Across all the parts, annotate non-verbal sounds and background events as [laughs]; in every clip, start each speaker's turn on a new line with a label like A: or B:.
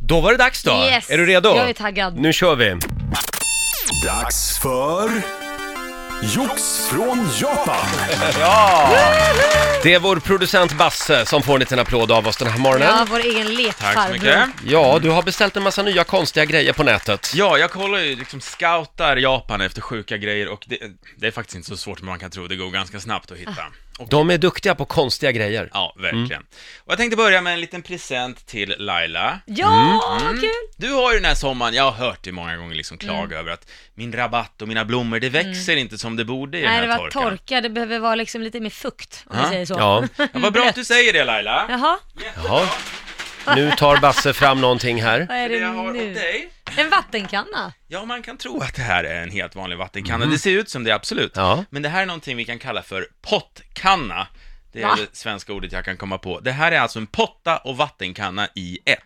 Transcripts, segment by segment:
A: Då var det dags då!
B: Yes.
A: Är du redo?
B: Jag är taggad.
A: Nu kör vi!
C: Dags för Jox från Japan.
A: Det är vår producent Basse som får en liten applåd av oss den här morgonen.
B: Ja,
A: Ja,
B: vår egen
D: Tack så
B: lekfarbror.
D: mycket.
A: du har beställt en massa nya konstiga grejer på nätet.
D: Ja, jag kollar ju, liksom scoutar Japan efter sjuka grejer och det, det är faktiskt inte så svårt som man kan tro, det går ganska snabbt att hitta.
B: Ah.
D: Och,
A: De är duktiga på konstiga grejer.
D: ja, verkligen.
B: Mm.
D: Och jag tänkte börja med en liten present till Laila.
A: Mm.
B: Ja,
D: Mm.
B: vad kul!
D: Du har ju den här sommaren, jag har hört dig många gånger liksom klaga
B: Mm.
D: över att min rabatt och mina blommor, det växer inte som det borde i
B: Nej, det
D: den här
B: var
D: torkan.
B: torka. Det behöver vara liksom lite mer fukt, om vi
D: Ja.
B: säger så. [laughs]
A: Ja.
D: Ja, vad bra att
B: Mm.
D: du säger det Laila.
B: Jaha,
A: Jaha. Nu tar Basse fram någonting här.
B: vad är
D: Det
B: det
D: jag har åt
B: nu?
D: dig.
B: En vattenkanna.
D: Ja, man kan tro att det här är en helt vanlig vattenkanna. Det ser ut som det, absolut.
A: Mm. Ja.
D: Men det här är någonting vi kan kalla för pottkanna. Det är
B: Va?
D: det svenska ordet jag kan komma på. Det här är alltså en potta och vattenkanna i ett.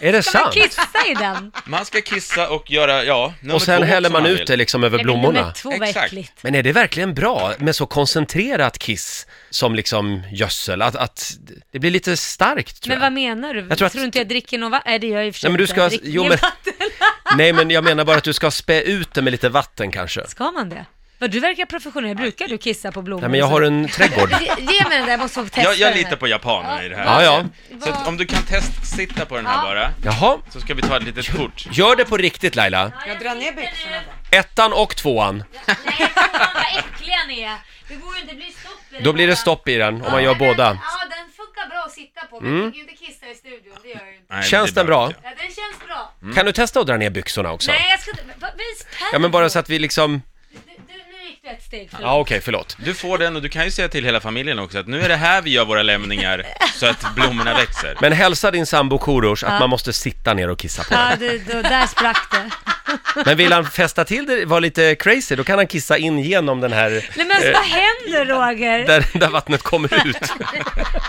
A: Är det
B: Ska man
A: sant?
B: kissa
A: [laughs]
B: i den?
D: Man ska kissa och göra, ja, nummer
A: Och sen
D: två
A: häller
D: som
A: man
D: vill.
A: ut det liksom över
B: Nej, men nummer
A: blommorna.
B: två var
D: Exakt.
B: äckligt.
A: Men är det verkligen bra med så koncentrerat kiss som liksom gödsel? Att, att det blir lite starkt tror
B: Men
A: jag.
B: vad menar du?
A: Jag tror
B: tror,
A: att-
B: du inte jag dricker någon vatten? Nej, det gör jag i och för sig
A: Nej, men du
B: inte.
A: ska-
B: Jag dricker
A: jo,
B: ingen
A: men-
B: vatten. [laughs]
A: Nej, men jag menar bara att du ska spä ut det med lite vatten kanske.
B: Ska man det? Vad, du verkar professionell. Brukar du kissa på blommor?
A: Nej, men jag
B: och så?
A: har en
B: [laughs]
A: trädgård.
B: Ge, ge mig den där, jag måste få testa
D: Jag, jag
B: den
D: litar på japanerna i det här.
A: Ja, ja.
D: Så att om du kan testsitta på den här
B: Ja.
D: bara,
A: Jaha,
D: så ska vi ta ett litet kort.
A: gör det på riktigt Laila.
E: Jag drar ner byxorna bara.
A: Ettan och tvåan.
B: Nej, fan vad äckliga ni är. Det går ju inte, det blir stopp i den
A: Då blir
B: bara.
A: det stopp i den om man gör
B: Ja, den-
A: båda. Mm.
B: Ja, den funkar bra att sitta på, men jag tänker inte kissa i studion, det gör jag ju inte.
D: Nej,
A: Känns
D: det
A: den bra?
D: behöver
B: Ja, den känns bra.
A: Kan du testa att dra ner byxorna också?
B: Nej, jag ska inte... va- Vis pärl
A: Mm. Ja, men bara
B: på.
A: så att vi liksom...
B: Du, du, nu gick du ett steg för
A: Ja, okej, förlåt.
D: jag. Du får den och du kan ju säga till hela familjen också att nu är det här vi gör våra lämningar så att blommorna växer.
A: Men hälsa din sambo Korosh att man måste sitta ner och kissa på den.
B: Ja, det, då, där sprack det.
A: Men vill han fästa till det, vara lite crazy, då kan han kissa in genom den här,
B: Nej, men alltså, vad händer Roger?
A: där, där vattnet kommer ut.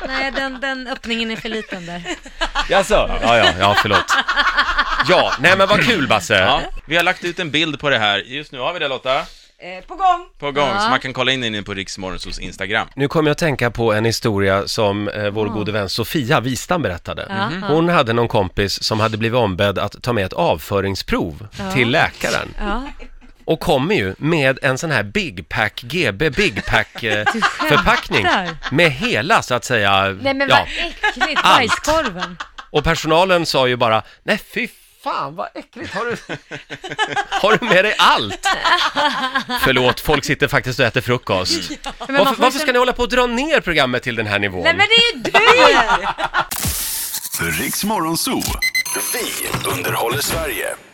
B: Nej, den, den öppningen är för liten där.
A: Jaså? Ja, ja, ja, förlåt. Ja, nej men vad kul Basse.
D: Ja, vi har lagt ut en bild på det här. Just nu har vi det Lotta,
E: Eh, på gång!
D: på gång,
B: Ja.
D: så man kan kolla in den inne på Riksmorgonsols Instagram.
A: Nu kom jag att tänka på en historia som eh, vår gode vän Sofia Wistam berättade.
B: Mhm.
A: Hon hade någon kompis som hade blivit ombedd att ta med ett avföringsprov till läkaren
B: Ja.
A: och kommer ju med en sån här Big Pack GB Big
B: [laughs]
A: Pack eh, förpackning
B: skämtar.
A: med hela så att säga.
B: Nej, men
A: ja.
B: vad äckligt.
A: Allt.
B: Bajskorven.
A: Och personalen sa ju bara, nej fy fan vad äckligt, har du, [laughs] har du med dig
B: [laughs]
A: allt? Förlåt, folk sitter faktiskt och äter frukost.
B: Men man
A: Varför,
B: får ju
A: varför
B: sen-
A: ska ni hålla på att dra ner programmet till den här nivån?
B: Nej, men det är ju du!
C: Riks Morgonzoo. Vi underhåller Sverige.